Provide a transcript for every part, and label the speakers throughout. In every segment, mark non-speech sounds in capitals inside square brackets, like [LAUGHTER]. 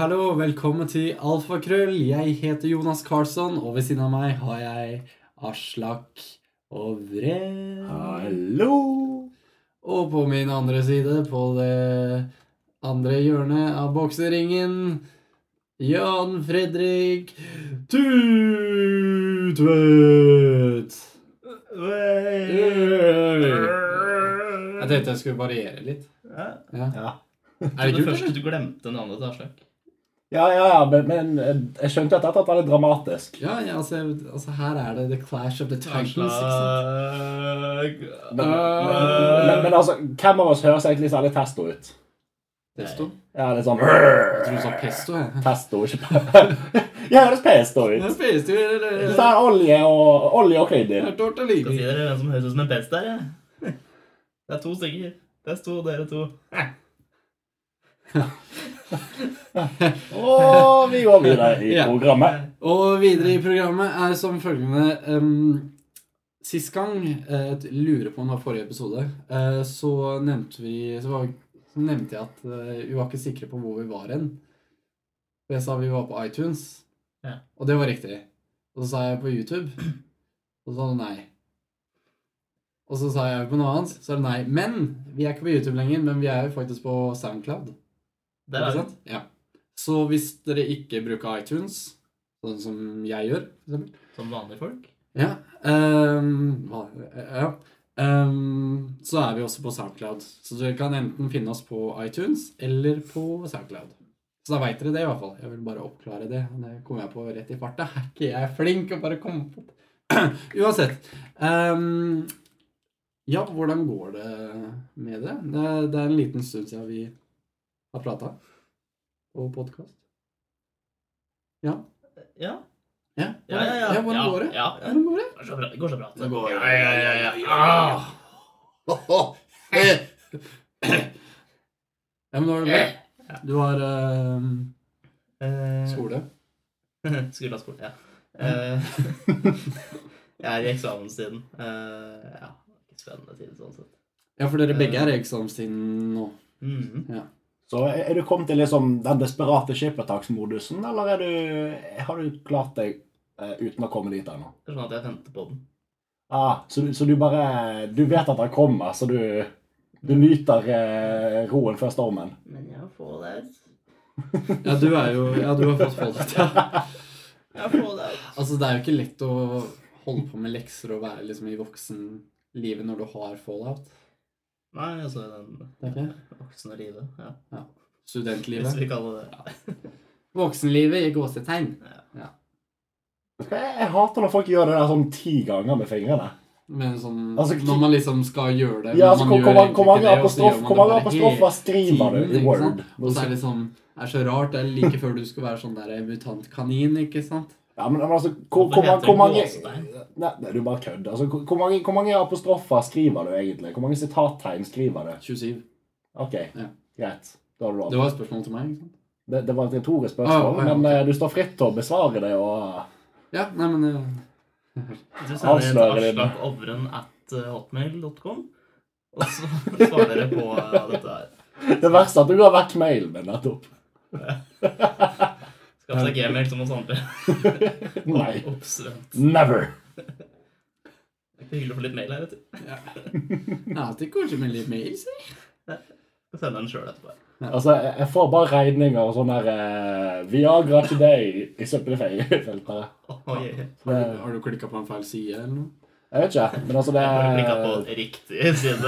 Speaker 1: hallo. Velkommen til Alfakrøll. Jeg heter Jonas Karlsson, og ved siden av meg har jeg Aslak Ovre.
Speaker 2: Hallo!
Speaker 1: Og på min andre side, på det andre hjørnet av bokseringen, Jan Fredrik Tutvedt. Jeg tenkte jeg skulle variere litt.
Speaker 3: Ja.
Speaker 1: Ja.
Speaker 2: Ja.
Speaker 1: Er det
Speaker 3: det
Speaker 1: kult,
Speaker 3: første
Speaker 1: eller?
Speaker 3: du glemte navnet til Aslak.
Speaker 2: Ja, ja, ja, men, men eh, jeg skjønte etter at det var litt dramatisk.
Speaker 1: Ja, ja altså, altså her er det The Clash of the Titans. ikke sant?
Speaker 3: Aslak
Speaker 2: Men, men, men altså, hvem av oss høres egentlig særlig testo ut?
Speaker 1: Testo?
Speaker 2: Ja, det er sånn
Speaker 1: Jeg tror du sa pesto, jeg.
Speaker 2: Pesto, ikke pe- [LAUGHS] Jeg høres pesto ut.
Speaker 1: Ja, pesto, eller,
Speaker 2: Så
Speaker 1: eller,
Speaker 2: det er olje og, olje og krydder.
Speaker 1: eller
Speaker 3: Skal si
Speaker 1: tortellini.
Speaker 3: dere hvem som høres ut som en pest der, jeg. Det er to stykker. Det er to, dere to.
Speaker 2: Og vi går videre i
Speaker 1: Ja.
Speaker 2: programmet.
Speaker 1: Og videre i programmet er som følgende ehm, Sist gang, eh, jeg lurer på om det var forrige episode, eh, så nevnte vi så, var, så nevnte jeg at eh, vi var ikke sikre på hvor vi var hen. For Jeg sa vi var på iTunes,
Speaker 3: Ja.
Speaker 1: og det var riktig. Og så sa jeg på YouTube, og så sa du nei. Og så sa jeg på noe annet, så er det nei. Men vi er ikke på YouTube lenger, men vi er jo faktisk på Soundcloud.
Speaker 3: Der
Speaker 1: Ikke
Speaker 3: er
Speaker 1: sant? Ja. Så hvis dere ikke bruker iTunes, sånn som jeg gjør, for eksempel
Speaker 3: vi som vanlige folk.
Speaker 1: ja, ehm, hva- ja, ehm, så er vi også på SoundCloud. Så dere kan enten finne oss på iTunes eller på SoundCloud. Så da veit dere det, i hvert fall. Jeg vil bare oppklare det. Det kom jeg på rett i farta. Er ikke jeg flink å bare komme på [CLEARS THROAT] Uansett. ehm, ja, hvordan går det med det? Det, det er en liten stund siden vi har prata på podkast.
Speaker 3: Ja.
Speaker 1: Ja.
Speaker 3: Ja, ja, ja.
Speaker 1: hvordan går det?
Speaker 3: Ja, ja.
Speaker 1: Hvordan går det?
Speaker 3: Det går så bra. Det går så bra.
Speaker 1: Det går-
Speaker 3: ja, ja, ja, ja,
Speaker 1: Ah! Ja, men nå er det bra. Du har eh,
Speaker 3: Eh, [LAUGHS]
Speaker 1: skole.
Speaker 3: Skulle ha spurt, ja. Eh, [LAUGHS] jeg er i eksamenstiden. Eh, ja, ikke spennende tid sånn sett.
Speaker 1: Ja, for dere begge er i eksamenstiden nå.
Speaker 3: Mhm.
Speaker 2: Så er er du kommet til liksom den desperate skippertaksmodusen, eller er du, har du klart deg eh, uten å komme dit ennå?
Speaker 3: Det er sånn at jeg venter på den.
Speaker 2: Ah, så, du- så du bare Du vet at han kommer, så du, du nyter eh, roen før stormen?
Speaker 3: Men jeg får det altså. ut.
Speaker 1: Ja, du er jo Ja, du har fått fallet, ja.
Speaker 3: Jeg får det ut.
Speaker 1: Altså, det er jo ikke lett å holde på med lekser og være liksom i voksenlivet når du har fallout.
Speaker 3: Nei, altså den
Speaker 1: Det er ikke?
Speaker 3: voksne livet. Ja. Hvis
Speaker 1: Studentlivet.
Speaker 3: vi kaller det det.
Speaker 1: Voksenlivet i gåsetegn.
Speaker 2: Jeg, jeg hater når folk gjør det der sånn ti ganger med fingrene.
Speaker 1: Men sånn
Speaker 2: Altså,
Speaker 1: Når man liksom skal gjøre det
Speaker 2: Ja,
Speaker 1: men
Speaker 2: altså,
Speaker 1: man
Speaker 2: Hvor
Speaker 1: gjør
Speaker 2: hvor mange-
Speaker 1: egentlig
Speaker 2: hvor
Speaker 1: ikke
Speaker 2: mange
Speaker 1: det, og så gjør
Speaker 2: apostrof-
Speaker 1: man
Speaker 2: hvor
Speaker 1: det
Speaker 2: mange
Speaker 1: bare
Speaker 2: apostrofer skriver
Speaker 1: tiden,
Speaker 2: du i
Speaker 1: ikke sant?
Speaker 2: Word?
Speaker 1: Og så er det liksom er så rart. Det er like før du skal være sånn der mutant kanin, ikke sant?
Speaker 2: Ja, men men altså, hvor, hvor, mange-
Speaker 3: Hvorfor heter
Speaker 2: hvor
Speaker 3: det
Speaker 2: mange
Speaker 3: gåstein?
Speaker 2: Nei, nei, du bare kødder. Altså, hvor, hvor, mange- hvor mange apostrofer skriver du egentlig? Hvor mange sitattegn skriver du?
Speaker 1: 27.
Speaker 2: Ok,
Speaker 1: Ja.
Speaker 2: greit. Da har du lov.
Speaker 1: Det var et spørsmål til meg, ikke sant?
Speaker 2: Det, det var et retorisk spørsmål,
Speaker 1: Ah, ja, ja,
Speaker 2: men eh, du står fritt til å besvare det og [LAUGHS]
Speaker 1: Ja, nei, men eh,
Speaker 3: Du sender til
Speaker 2: Avslører det.
Speaker 3: aslakobren at eh, hotmail.com, og så svarer dere på eh, dette her.
Speaker 2: Det verste er at du har vekk mailen min nettopp.
Speaker 3: Skaff deg gmail som oss andre.
Speaker 2: Nei.
Speaker 3: Oppstrømt.
Speaker 2: Never.
Speaker 3: Det er hyggelig å få litt mail her, vet du.
Speaker 1: det er alltid kanskje med litt mail, si.
Speaker 3: Jeg sender den sjøl etterpå.
Speaker 2: Altså, jeg jeg får bare regninger og sånn der eh, Viagra til deg i [LAUGHS] søppelfeltet.
Speaker 3: Oi, oi, oi.
Speaker 1: Har du, har du klikka på en feil side eller noe?
Speaker 2: Jeg vet ikke, men altså det
Speaker 3: Jeg bare klikka
Speaker 2: [LAUGHS]
Speaker 3: på riktig side.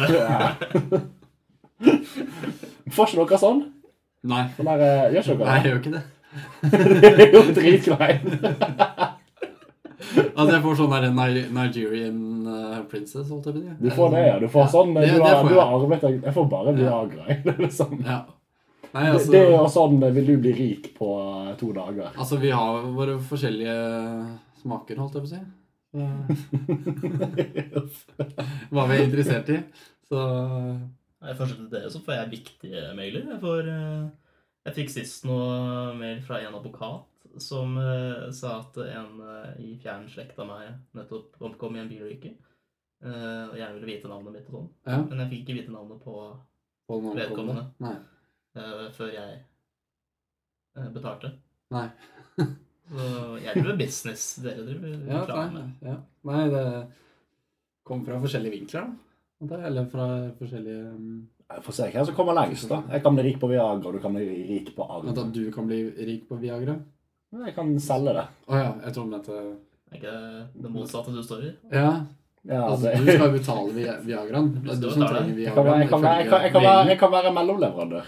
Speaker 2: Får ikke dere sånn?
Speaker 1: Nei.
Speaker 2: sånn der, eh, gjør ikke
Speaker 1: Nei, jeg
Speaker 2: dere det?
Speaker 1: gjør ikke det.
Speaker 2: [LAUGHS] Det er jo dritkleint.
Speaker 1: Altså, jeg får sånn der Ni- Nigerian eh, princess, holdt jeg på å si.
Speaker 2: Du får det, ja. Du får sånn eh,
Speaker 1: det-
Speaker 2: Du
Speaker 1: det
Speaker 2: har,
Speaker 1: får
Speaker 2: du
Speaker 1: jeg.
Speaker 2: har arvet deg Jeg får bare Viagra. [LAUGHS] Det er liksom-
Speaker 1: Ja. Nei,
Speaker 2: Det-
Speaker 1: altså
Speaker 2: det er jo sånn eh, vil du bli rik på eh, to dager. [LAUGHS]
Speaker 1: Altså, vi har våre forskjellige smaker, holdt jeg på å si. Hva vi er interessert i. Så
Speaker 3: I forhold til dere så får jeg viktige mailer. Jeg, får, eh, jeg fikk sist noe mail fra en advokat som eh, sa at en eh, i fjern slekt av meg nettopp omkom i en bilulykke. eh, og gjerne ville vite navnet mitt og sånn.
Speaker 1: ja.
Speaker 3: Men jeg fikk ikke vite navnet på
Speaker 1: Hold nå på det.
Speaker 3: Vedkommende.
Speaker 1: Nei.
Speaker 3: eh, før jeg eh, betalte.
Speaker 1: Nei.
Speaker 3: [LAUGHS] Så jeg driver business, dere driver
Speaker 1: Ja,
Speaker 3: reklame.
Speaker 1: nei, ja. nei, det kom fra forskjellige vinkler, da. Det- Eller fra forskjellige um,
Speaker 2: Jeg får se hvem som kommer lengst. da. Jeg kan bli rik på Viagra, og du kan bli rik på
Speaker 1: At
Speaker 2: arv.
Speaker 1: du kan bli rik på Viagra?
Speaker 2: Jeg kan selge det.
Speaker 1: Å ja, jeg tror om dette
Speaker 3: Er ikke det det motsatte du står i?
Speaker 1: Ja,
Speaker 2: Ja,
Speaker 1: altså,
Speaker 2: det-
Speaker 1: du skal jo betale via Viagraen. Det er du som trenger
Speaker 2: Jeg kan være-
Speaker 1: Viagraen.
Speaker 2: jeg kan være- jeg kan- jeg kan være- jeg kan være mellomleverandør.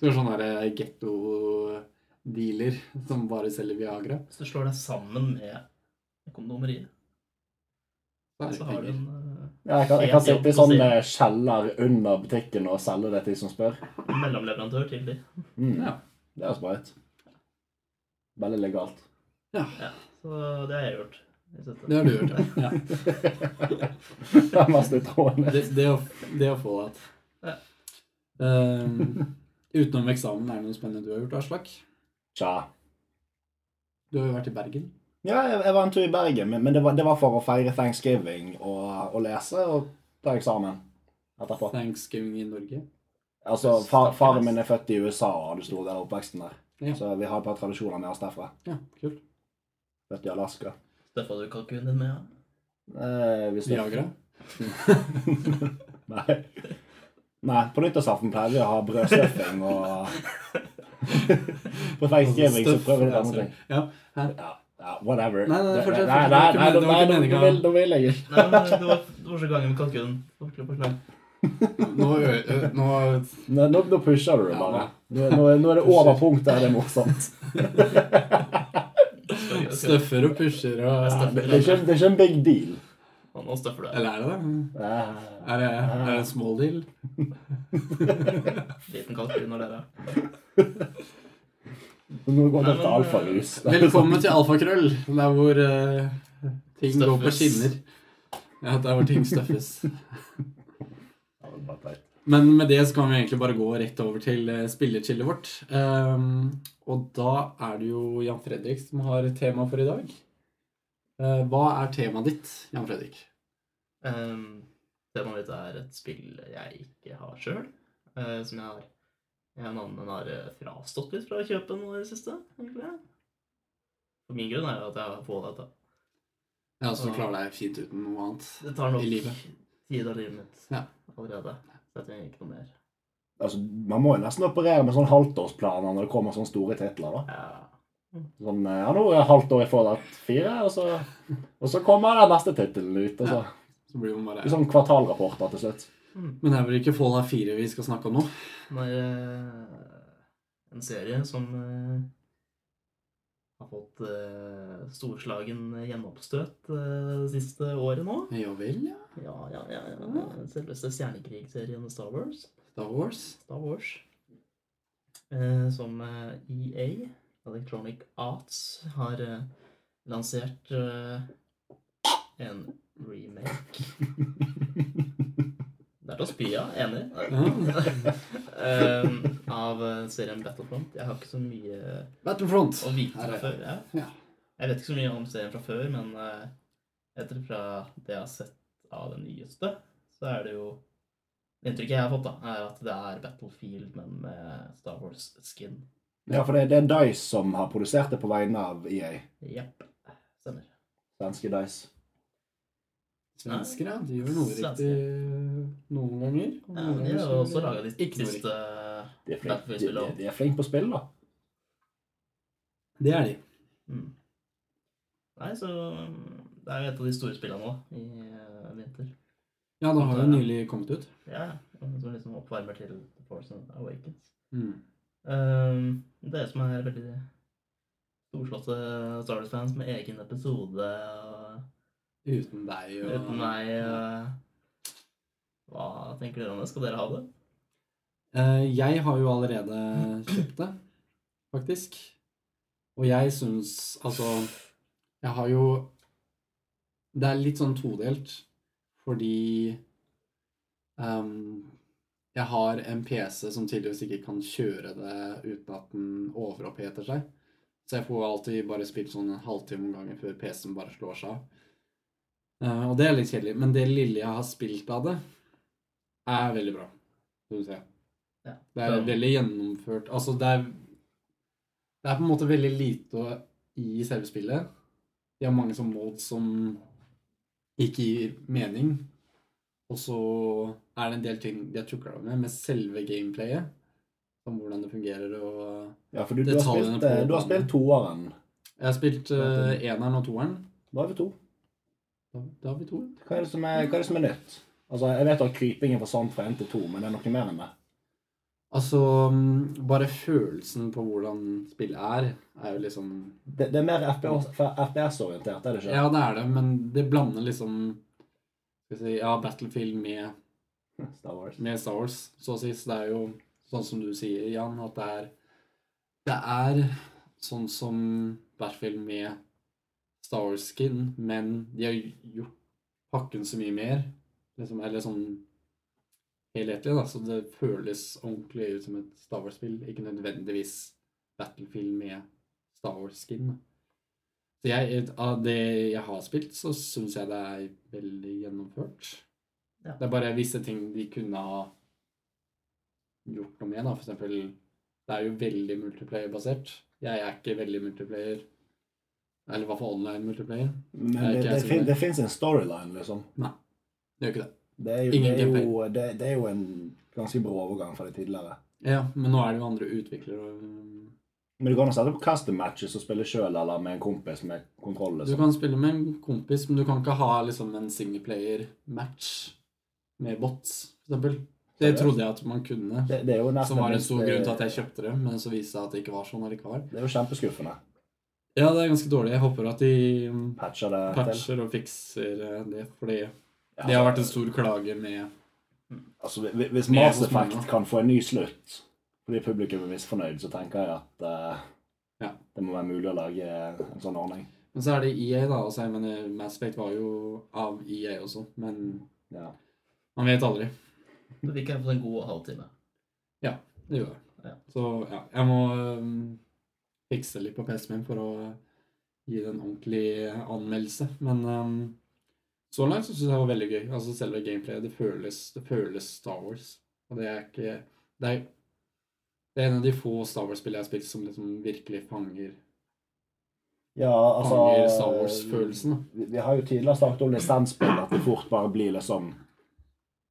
Speaker 1: Du er sånn der getto-dealer som bare selger Viagra.
Speaker 3: Hvis du slår deg sammen med kondomeriet,
Speaker 1: Da er det
Speaker 3: så har du
Speaker 1: penger.
Speaker 3: en eh,
Speaker 2: Ja, jeg kan, jeg kan
Speaker 3: Helt jobb
Speaker 2: sitte i
Speaker 3: å
Speaker 2: sånn
Speaker 3: si.
Speaker 2: eh, kjeller under butikken og selge det til de som spør.
Speaker 3: eh, mellomleverandør til de.
Speaker 2: Mm.
Speaker 1: Ja.
Speaker 2: Det høres bra ut. Veldig legalt. [LAUGHS]
Speaker 3: Ja, så det har jeg gjort. i siste.
Speaker 1: Det har du gjort, ja. ja.
Speaker 2: Det er mest utrådende.
Speaker 1: [LAUGHS] Det, det, å, det å få det.
Speaker 3: Ja.
Speaker 1: Um, utenom eksamen, er det noe spennende du har gjort, Aslak?
Speaker 2: Tja.
Speaker 1: Du har jo vært i Bergen.
Speaker 2: Ja, jeg, jeg var en tur i Bergen, men, men det, var, det var for å feire thanksgiving og, og lese og ta eksamen etterpå.
Speaker 1: Thanksgiving i Norge.
Speaker 2: Altså, far, Faren min er født i USA og hadde stor del av oppveksten der.
Speaker 1: Ja.
Speaker 2: Så vi har et par tradisjoner med oss derfra.
Speaker 1: Ja, kult.
Speaker 2: Født i Alaska.
Speaker 3: Støffa du kalkunen din med? Ja?
Speaker 2: Eh, hvis det-
Speaker 1: Viagra.
Speaker 2: [LAUGHS] Nei. Nei, på nyttårsaften pleier vi å ha brødstuffing
Speaker 1: [LAUGHS]
Speaker 2: og På thanksgiving så prøver du
Speaker 1: Ja,
Speaker 2: andre ting.
Speaker 1: Ja, hæ?
Speaker 2: Ja, ja, whatever.
Speaker 1: Nei, nei,
Speaker 2: Det-
Speaker 1: fortsett,
Speaker 2: Nei,
Speaker 1: fortsett, det var
Speaker 2: nei,
Speaker 1: ikke men-
Speaker 2: nei,
Speaker 1: det var
Speaker 2: nei,
Speaker 1: ikke
Speaker 2: nå-
Speaker 1: meningen.
Speaker 2: nå vil- nå vil jeg ikke.
Speaker 3: Nei, men det var, det var så gangen med kalkunen. Fortsett, fortsett.
Speaker 1: Nå, ø- ø- nå
Speaker 2: Nå, nå, nå pusher du det
Speaker 1: Ja,
Speaker 2: bare.
Speaker 1: nå.
Speaker 2: Nå, nå, er- nå er det over punktet der det er
Speaker 1: [LAUGHS]
Speaker 2: morsomt.
Speaker 3: Skal vi- skal vi-
Speaker 1: støffer og pusher
Speaker 2: Ja,
Speaker 1: og
Speaker 2: det, det, er ikke, det er ikke en big deal.
Speaker 3: Ja, Nå støffer du.
Speaker 1: Eller er det det?
Speaker 2: Eh,
Speaker 1: Er det, er det en small deal?
Speaker 3: Liten kalkun når dere er
Speaker 2: Nå går det til
Speaker 3: Nei, men,
Speaker 1: eh,
Speaker 2: alfarus.
Speaker 1: Velkommen til Alfakrøll, der hvor eh, ting går på
Speaker 3: Støffes.
Speaker 1: skinner. Ja, der hvor ting støffes.
Speaker 2: Ja, det er bare teit.
Speaker 1: Men med det så kan vi egentlig bare gå rett over til eh, spillerchillet vårt. Ehm, og da er det jo Jan Fredrik som har tema for i dag. Eh, hva er temaet ditt, Jan Fredrik?
Speaker 3: Ehm, Temaet mitt er et spill jeg ikke har sjøl. Som jeg har jeg og en annen har eh, frastått litt fra å kjøpe nå i det siste. egentlig. For min grunn er jo at jeg har fått dette.
Speaker 1: Ja, så klarer deg fint uten noe annet.
Speaker 3: Det tar nok
Speaker 1: I livet.
Speaker 3: tid av livet mitt
Speaker 1: Ja.
Speaker 3: allerede. Så jeg trenger ikke noe mer.
Speaker 2: Altså, man må jo nesten operere med sånn halvtårsplaner når det kommer sånne store titler. da.
Speaker 3: Ja.
Speaker 2: Sånn, eh, ja, nå er jeg halvt år i Fallout 4, og så, og så kommer den neste tittelen ut. Og så,
Speaker 1: Så blir man bare...
Speaker 2: I sånn kvartalrapporter til
Speaker 1: [LAUGHS]
Speaker 2: slutt.
Speaker 1: Men det er vel ikke Fallout 4 vi skal snakke om nå?
Speaker 3: Den er eh, en serie som eh, har fått eh, storslagen gjennomstøt eh, det siste året nå.
Speaker 1: Ja vel, ja.
Speaker 3: Ja, ja, ja. ja. Selveste stjernekrigsserien Star Wars.
Speaker 1: Star Wars.
Speaker 3: Star Wars. Eh, som eh, EA, Electronic Arts, har eh, lansert eh, en remake. Det er til å spy av, enig. [LAUGHS] Eh, av eh, serien Battlefront. Jeg har ikke så mye
Speaker 1: Battlefront.
Speaker 3: å vite
Speaker 1: Her
Speaker 3: fra
Speaker 1: er
Speaker 3: før. Ja.
Speaker 1: Ja.
Speaker 3: Jeg vet ikke så mye om serien fra før, men eh, etter fra det jeg har sett av det nyeste, så er det jo Det inntrykket jeg har fått, da, er at det er Battlefield, men med Star Wars-skin.
Speaker 2: Ja, for det, det er Dice som har produsert det på vegne av EA.
Speaker 3: Jepp. Stemmer.
Speaker 2: Svenske Dice.
Speaker 1: Svensker, ja. De gjør noe riktig noen ganger. og
Speaker 3: Ja,
Speaker 1: noen
Speaker 3: de
Speaker 1: ganger
Speaker 3: har
Speaker 1: så-
Speaker 3: også laga de
Speaker 1: Ikke noe
Speaker 3: siste
Speaker 2: De er flinke de, de, de er flink på spill, da.
Speaker 1: riktig. Det er de.
Speaker 3: mm. Nei, så um, Det er jo et av de store spillene nå i eh, vinter.
Speaker 1: Ja, det har jo nylig kommet ut.
Speaker 3: Ja, ja. Som liksom oppvarmer til Force Awakens.
Speaker 1: Mm.
Speaker 3: Ehm, dere som er veldig storslåtte Star Wars-fans med egen episode og
Speaker 1: Uten deg og
Speaker 3: uten meg eh, Hva tenker dere om det? Skal dere ha det?
Speaker 1: Eh, Jeg har jo allerede kjøpt det, faktisk. Og jeg syns Altså, jeg har jo Det er litt sånn todelt, fordi ehm, jeg har en PC som tydeligvis ikke kan kjøre det uten at den overoppheter seg. Så jeg får alltid bare spilt sånn en halvtime om gangen før PC-en bare slår seg av. Eh, og det er litt kjedelig, men det lille jeg har spilt av det, er veldig bra. Skal vi se.
Speaker 3: Ja.
Speaker 1: Det er veldig gjennomført. Altså, det er Det er på en måte veldig lite å- i selve spillet. De har mange sånne mods som ikke gir mening. Og så er det en del ting de har tukla med, med selve gameplayet. Om hvordan det fungerer og
Speaker 2: Ja, for du, du, har,
Speaker 1: Detaljene
Speaker 2: spilt, eh,
Speaker 1: på
Speaker 2: du har
Speaker 1: banen.
Speaker 2: spilt toeren.
Speaker 1: Jeg har spilt eh, eneren og toeren.
Speaker 2: Da er vi to.
Speaker 1: Da, da har vi toeren.
Speaker 2: Hva er det som er, hva er, det som er nytt? Altså, Jeg vet at krypingen forsvant fra én til to, men det er noe mer enn det.
Speaker 1: Altså, mm, bare følelsen på hvordan spillet er, er jo liksom
Speaker 2: Det, det er mer FPS-orientert, er det ikke?
Speaker 1: Ja, det er det, men det blander liksom skal vi si, Ja, Battlefield med,
Speaker 2: Star Wars.
Speaker 1: med Star Wars, så å si. Så det er jo sånn som du sier, Jan, at det er Det er sånn som Battlefield med Star Wars-skin, men de har gjort pakken så mye mer. Liksom, eller sånn helhetlig, da. Så det føles ordentlig ut som et Star Wars-spill. Ikke nødvendigvis Battlefield med Star Wars-skin. da. Så jeg, av det jeg har spilt, så syns jeg det er veldig gjennomført.
Speaker 3: Ja.
Speaker 1: Det er bare visse ting de kunne ha gjort noe med, da. For eksempel Det er jo veldig multiplayer-basert. Jeg er ikke veldig multiplayer. Eller i hvert fall online multiplayer.
Speaker 2: Men
Speaker 1: Nei,
Speaker 2: det,
Speaker 1: ikke
Speaker 2: det,
Speaker 1: jeg som
Speaker 2: fin,
Speaker 1: det.
Speaker 2: det fins en storyline, liksom.
Speaker 1: Det gjør ikke det.
Speaker 2: Det er, jo,
Speaker 1: Ingen
Speaker 2: det, er jo,
Speaker 1: gameplay.
Speaker 2: det, det er jo en ganske brå overgang fra det tidligere.
Speaker 1: Ja, men nå er det jo andre utviklere. og- um,
Speaker 2: Men du kan jo sette på custom matches og spille sjøl eller med en kompis med kontroll.
Speaker 1: Du
Speaker 2: Liksom.
Speaker 1: kan spille med en kompis, men du kan ikke ha liksom en singleplayer-match med bots, for eksempel. Det
Speaker 2: Seriøst?
Speaker 1: trodde jeg at man kunne.
Speaker 2: Det, det er jo nesten
Speaker 1: Som var en
Speaker 2: minst-
Speaker 1: stor
Speaker 2: det-
Speaker 1: grunn til at jeg kjøpte det, men så viste det seg at det ikke var sånn allikevel.
Speaker 2: Det er jo kjempeskuffende.
Speaker 1: Ja, det er ganske dårlig. Jeg håper at de mm,
Speaker 2: Patcher det til.
Speaker 1: patcher og fikser eh, det, fordi
Speaker 2: Ja,
Speaker 1: det har vært en stor klage med
Speaker 2: Altså, hvi- hvi- hvis
Speaker 1: Ned
Speaker 2: Mass
Speaker 1: hos
Speaker 2: Effect
Speaker 1: mange.
Speaker 2: kan få en ny slutt fordi publikum er misfornøyd, så tenker jeg at eh,
Speaker 1: Ja.
Speaker 2: det må være mulig å lage en sånn ordning.
Speaker 1: Men så er det EA, da. Altså, jeg mener, Mass Effect var jo av EA også, men
Speaker 2: Ja.
Speaker 1: man vet aldri.
Speaker 3: Du fikk iallfall en god halvtime.
Speaker 1: Det gjør jeg.
Speaker 3: Ja.
Speaker 1: Så ja, jeg må øhm, fikse litt på PC-en min for å gi det en ordentlig anmeldelse. Men øhm, så langt så syns jeg det var veldig gøy. Altså selve gameplayet. Det føles, det føles Star Wars. Og det er ikke Det er, det er en av de få Star Wars-spillene jeg har spilt som liksom virkelig fanger,
Speaker 2: Ja,
Speaker 1: fanger
Speaker 2: altså
Speaker 1: Star Wars-følelsen. da.
Speaker 2: Vi, vi har jo tidligere snakket om lisensspill, at det fort bare blir liksom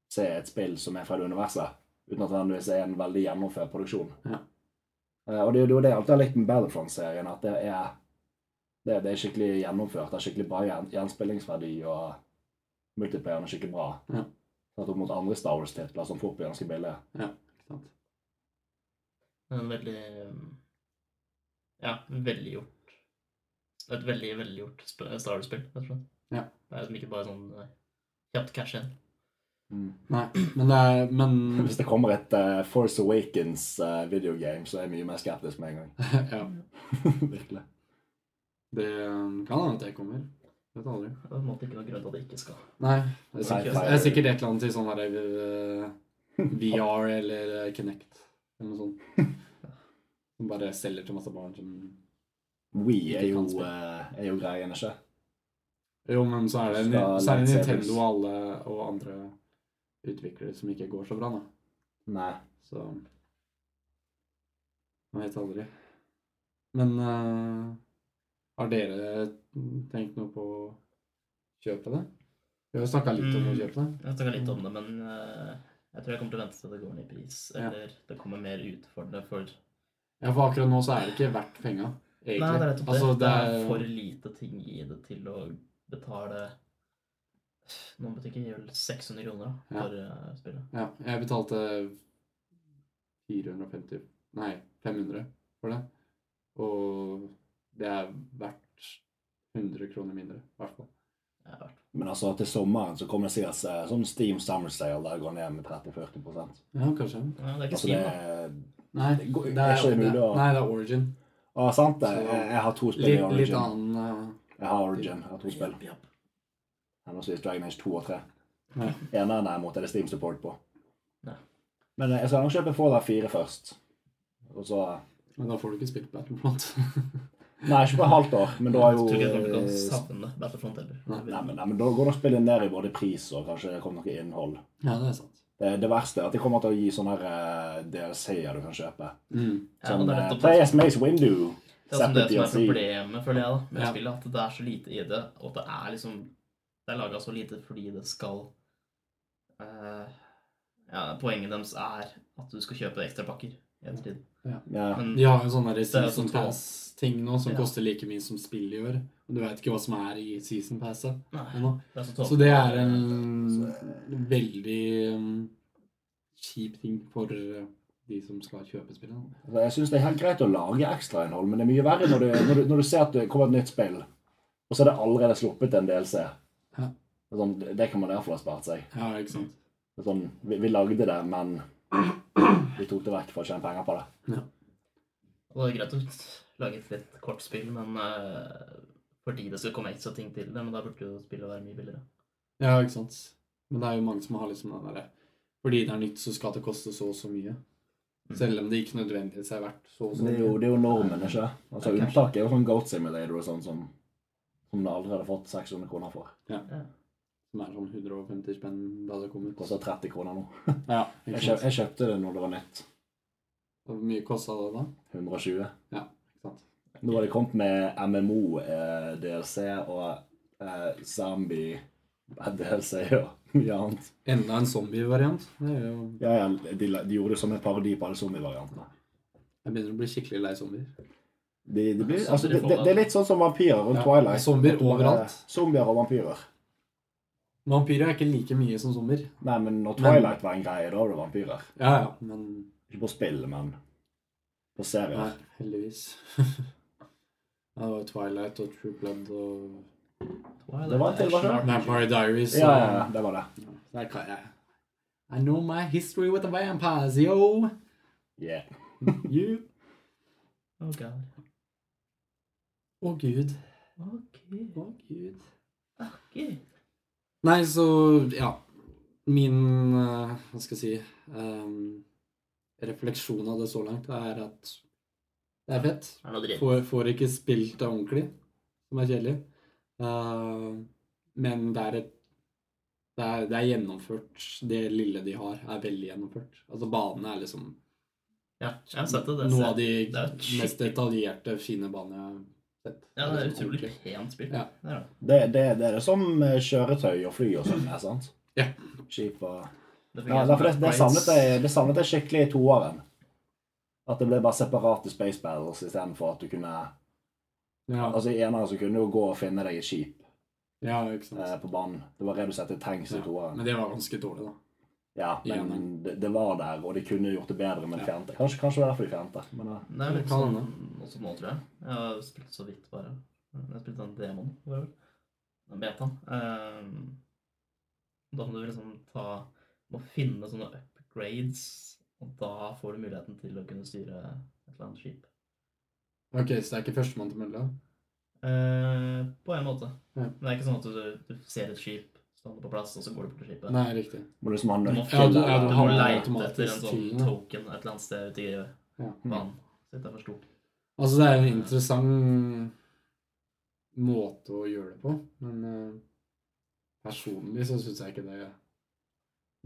Speaker 2: Se et spill som er fra det universet, uten at det nødvendigvis er en veldig gjennomført produksjon.
Speaker 1: Ja.
Speaker 2: Eh, og det er jo det jeg alltid har likt med Battlefront-serien, at det er, det, det er skikkelig gjennomført. Det er skikkelig bra gjen, gjenspillingsverdi, og multiplayeren er skikkelig bra.
Speaker 1: Ja.
Speaker 2: Satt opp mot andre Star Wars-titler som fort blir ganske billige.
Speaker 1: Ikke sant?
Speaker 3: En veldig um, Ja, velgjort. Et veldig velgjort sp- Star Wars-spill, rett og slett.
Speaker 1: Ja.
Speaker 3: Det er liksom ikke bare sånn eh, kjapt cash in.
Speaker 1: Nei, men det er Men
Speaker 2: [LAUGHS] Hvis det kommer et eh, Force Awakens-videogame, så er jeg mye mer skeptisk med en
Speaker 1: [LAUGHS]
Speaker 2: gang.
Speaker 1: ja.
Speaker 2: Virkelig.
Speaker 1: Det kan hende at jeg kommer. Vet aldri.
Speaker 3: Det er på en måte ikke noe grunn til at det ikke skal.
Speaker 1: Nei. Det er sikkert,
Speaker 2: Sci-fi.
Speaker 1: det er sikkert et eller annet i sånn der eh, VR eller eh, Kinect eller noe sånt. Som bare selger til masse barn som
Speaker 2: We er
Speaker 1: Ikke
Speaker 2: jo,
Speaker 1: kan spille.
Speaker 2: eh, er jo greien, ikke?
Speaker 1: Jo, men så er det, Ni-
Speaker 2: Skal
Speaker 1: så er det
Speaker 2: lightsabers.
Speaker 1: Nintendo og alle og andre utviklere som ikke går så bra, da.
Speaker 2: Nei.
Speaker 1: Så Man vet aldri. Men eh, har dere tenkt noe på å kjøpe det? Vi har jo snakka litt om å
Speaker 3: Mm.
Speaker 1: kjøpe det.
Speaker 3: Jeg snakka litt om det, men eh, jeg tror jeg kommer til å vente til det går ned i pris,
Speaker 1: Ja.
Speaker 3: eller det kommer mer ut for det. For
Speaker 1: Ja, for akkurat nå så er det ikke verdt penga, egentlig.
Speaker 3: Nei, det er nettopp det.
Speaker 1: Altså,
Speaker 3: det er for lite ting i det til å betale Noen butikker gir vel 600 kroner da,
Speaker 1: Ja.
Speaker 3: for eh, spillet.
Speaker 1: Ja, jeg betalte 450 Nei, 500 for det. Og det er verdt 100 kroner mindre, i hvert fall.
Speaker 3: Jeg har vært
Speaker 2: Men altså til sommeren så kommer det sikkert eh, sånn Steam Summer Sale der det går ned med 30-40
Speaker 1: Ja, kanskje.
Speaker 3: Ja,
Speaker 2: Altså
Speaker 3: det er ikke
Speaker 2: det
Speaker 3: Steam, da.
Speaker 2: er
Speaker 1: Nei,
Speaker 2: Det går-
Speaker 1: det er,
Speaker 2: er ikke mulig
Speaker 1: det-
Speaker 2: å-
Speaker 1: nei, det er Origin.
Speaker 2: Å, sant det.
Speaker 1: Så-
Speaker 2: Jeg, jeg har to spill i
Speaker 1: Litt, litt
Speaker 2: Origin.
Speaker 1: annen eh,
Speaker 2: Jeg har Origin. Jeg har to spill.
Speaker 3: Japp, japp.
Speaker 2: Henholdsvis Dragon Age 2 og 3.
Speaker 1: Ja.
Speaker 2: Eneren derimot er det Steam Support på.
Speaker 3: Ja.
Speaker 2: Men eh, jeg skal nok kjøpe Fallout 4 først. Og så eh,
Speaker 1: Men da får du ikke spilt Battlefront.
Speaker 2: Nei, ikke på et halvt år, men da er
Speaker 3: Jeg
Speaker 2: jo
Speaker 3: tror ikke jeg kommer til å
Speaker 2: eh,
Speaker 3: savne Battlefront heller.
Speaker 1: Nei,
Speaker 2: Nei, men, nei, men da går nok spillet ned i både pris og kanskje det kommer noe innhold.
Speaker 1: [LAUGHS] ja, det er sant.
Speaker 2: Det, det verste er at de kommer til å gi sånne her, eh, DLC-er du kan kjøpe.
Speaker 1: Mm.
Speaker 3: Ja, men
Speaker 2: Som
Speaker 3: det er
Speaker 2: eh,
Speaker 3: nettopp det.
Speaker 2: Play as Maze Window.
Speaker 3: Det er også det
Speaker 2: Separate
Speaker 3: som er
Speaker 2: DLC.
Speaker 3: problemet, føler jeg, da, med
Speaker 1: Ja.
Speaker 3: spillet. At det er så lite i det, og at det er liksom Det er laga så lite fordi det skal eh, ja, Poenget deres er at du skal kjøpe ekstrapakker i ettertid.
Speaker 2: Ja.
Speaker 3: Men
Speaker 1: De har jo sånne der
Speaker 3: Mm. er jo
Speaker 1: season
Speaker 3: sånn tall.
Speaker 1: pass-ting nå som
Speaker 3: Ja.
Speaker 1: koster like mye som spill i år. Og du veit ikke hva som er i season passet
Speaker 3: nei, Sånn.
Speaker 1: ennå.
Speaker 3: det er så
Speaker 1: Så
Speaker 3: tåpelig.
Speaker 1: det er en veldig um, kjip ting for uh, de som skal kjøpe spillet. da.
Speaker 2: Altså, Jeg syns det er helt greit å lage ekstrainnhold, men det er mye verre når du, når du, når du ser at det kommer et nytt spill, og så er det allerede sluppet en DLC.
Speaker 1: Ja.
Speaker 2: Sånn, det kan man i hvert fall ha spart seg.
Speaker 1: Ja, ikke sant?
Speaker 2: Det er Sånn, vi, vi lagde det, men vi tok det vekk for å tjene penger på det.
Speaker 3: Og det er greit å lage et litt kort spill, men eh, fordi det skal komme ekstra ting til det, men da burde jo spillet være mye billigere.
Speaker 1: Ja, ikke sant? Men det er jo mange som har liksom den derre Fordi det er nytt, så skal det koste så og så mye.
Speaker 3: Mm.
Speaker 1: Selv om det ikke nødvendigvis er verdt så og så
Speaker 2: Det er jo,
Speaker 1: mye.
Speaker 2: det er jo normen, ikke Altså,
Speaker 3: Ja, kanskje.
Speaker 2: Unntaket er jo sånn Goat Simulator og sånn som, som du aldri hadde fått 600 kroner for.
Speaker 1: Som er sånn 150 spenn da det kom
Speaker 2: Det
Speaker 1: ut.
Speaker 2: koster 30 kroner nå.
Speaker 1: Ja,
Speaker 2: Jeg,
Speaker 1: ikke
Speaker 2: kjøp,
Speaker 1: sant?
Speaker 2: jeg kjøpte det når det var nytt.
Speaker 1: Hvor mye kosta det da?
Speaker 2: 120.
Speaker 1: Ikke sant?
Speaker 2: Nå har det kommet med MMO, eh, DLC og eh, zombie eh, DLC og mye annet.
Speaker 1: Enda en zombie-variant. Det er jo
Speaker 2: Ja, ja, de, la- de gjorde det som en parodi på alle zombie-variantene.
Speaker 1: Jeg begynner å bli skikkelig lei zombier.
Speaker 2: De, de blir,
Speaker 3: Zombier
Speaker 2: altså, det,
Speaker 3: får
Speaker 2: det,
Speaker 3: det.
Speaker 2: det er litt sånn som vampyrer rundt
Speaker 1: Ja,
Speaker 2: Twilight.
Speaker 1: zombier
Speaker 2: At du bare-
Speaker 1: overalt.
Speaker 2: Zombier og vampyrer.
Speaker 1: Vampyrer er ikke like mye som zombier.
Speaker 2: Nei, men når
Speaker 1: Men-
Speaker 2: Twilight var en greie, da var det vampyrer.
Speaker 1: Ja, ja, men
Speaker 2: Ikke på spill, men på serier.
Speaker 1: Nei, heldigvis. [LAUGHS] ja, det var Twilight og True Blood og
Speaker 2: Det var en til, var det?
Speaker 1: Vampire Diaries.
Speaker 2: Ja, ja, ja, det var det.
Speaker 1: Der kan jeg. I know my history with the vampires,
Speaker 2: [LAUGHS]
Speaker 1: yo!
Speaker 2: Yeah.
Speaker 1: You.
Speaker 3: Oh god.
Speaker 1: Å, gud.
Speaker 3: Ok,
Speaker 1: Å, gud.
Speaker 3: ok.
Speaker 1: Nei, så ja. Min eh, Hva skal jeg si ehm, Refleksjon av det så langt er at det er fett.
Speaker 3: Er det noe dritt?
Speaker 1: Får, får ikke spilt det ordentlig, som er kjedelig. Eh, men det er et det er, det er gjennomført. Det lille de har, er veldig gjennomført. Altså Banene er liksom
Speaker 3: Ja, jeg har sett det. det
Speaker 1: noe
Speaker 3: ser-
Speaker 1: av de
Speaker 3: det er skikkelig-
Speaker 1: mest detaljerte, fine banene jeg har sett.
Speaker 3: Ja, det er
Speaker 1: liksom
Speaker 3: utrolig
Speaker 1: ordentlig.
Speaker 3: pent spill.
Speaker 1: Ja.
Speaker 3: Det er det.
Speaker 2: Det, det, det er det som eh, kjøretøy og fly og sånn, er sant?
Speaker 1: Ja.
Speaker 2: Skip og
Speaker 3: Det
Speaker 2: Ja,
Speaker 3: fungerer
Speaker 2: derfor det,
Speaker 3: som
Speaker 2: det,
Speaker 3: Black
Speaker 2: savnet
Speaker 3: Lights.
Speaker 2: jeg, det savnet jeg skikkelig i toåren. At det ble bare separate space battles istedenfor at du kunne
Speaker 1: Ja,
Speaker 2: Altså I eneren så kunne du gå og finne deg et skip
Speaker 1: ja, ikke sant.
Speaker 2: eh, på banen. Det var redusert til tanks i
Speaker 1: Ja,
Speaker 2: toeren.
Speaker 1: Men det var ganske dårlig, da.
Speaker 2: Ja, men
Speaker 1: Igjen.
Speaker 2: det, det var der, og de kunne gjort det bedre, men
Speaker 1: Ja.
Speaker 2: fjernet det. Kanskje, kanskje det er derfor de fjernet det. Men, eh,
Speaker 3: Det er litt
Speaker 1: Kan
Speaker 3: sånn
Speaker 1: hende.
Speaker 3: også nå, tror jeg. Jeg har spilt så vidt, bare. Jeg spilte den demoen, var det vel? Den betaen. Ehm, Da må du liksom ta Må finne sånne upgrades, og da får du muligheten til å kunne styre et eller annet skip.
Speaker 1: Ok, Så det er ikke førstemann til mølla?
Speaker 3: Eh, på en måte.
Speaker 1: Ja.
Speaker 3: Men det er ikke sånn at du, du ser et skip stående på plass, og så går du bort til skipet.
Speaker 1: Nei, riktig.
Speaker 2: må liksom ha
Speaker 3: Du må
Speaker 2: nøkkel
Speaker 1: Ja, du-
Speaker 3: finne
Speaker 1: ja,
Speaker 3: Du
Speaker 1: har
Speaker 3: må
Speaker 1: den
Speaker 3: leite
Speaker 1: automatisk
Speaker 3: etter en sånn
Speaker 1: til den, da.
Speaker 3: token et eller annet sted ute i
Speaker 1: Ja.
Speaker 3: banen. Så dette er for stort.
Speaker 1: Altså, det er en interessant måte å gjøre det på, men eh, personlig så syns jeg ikke det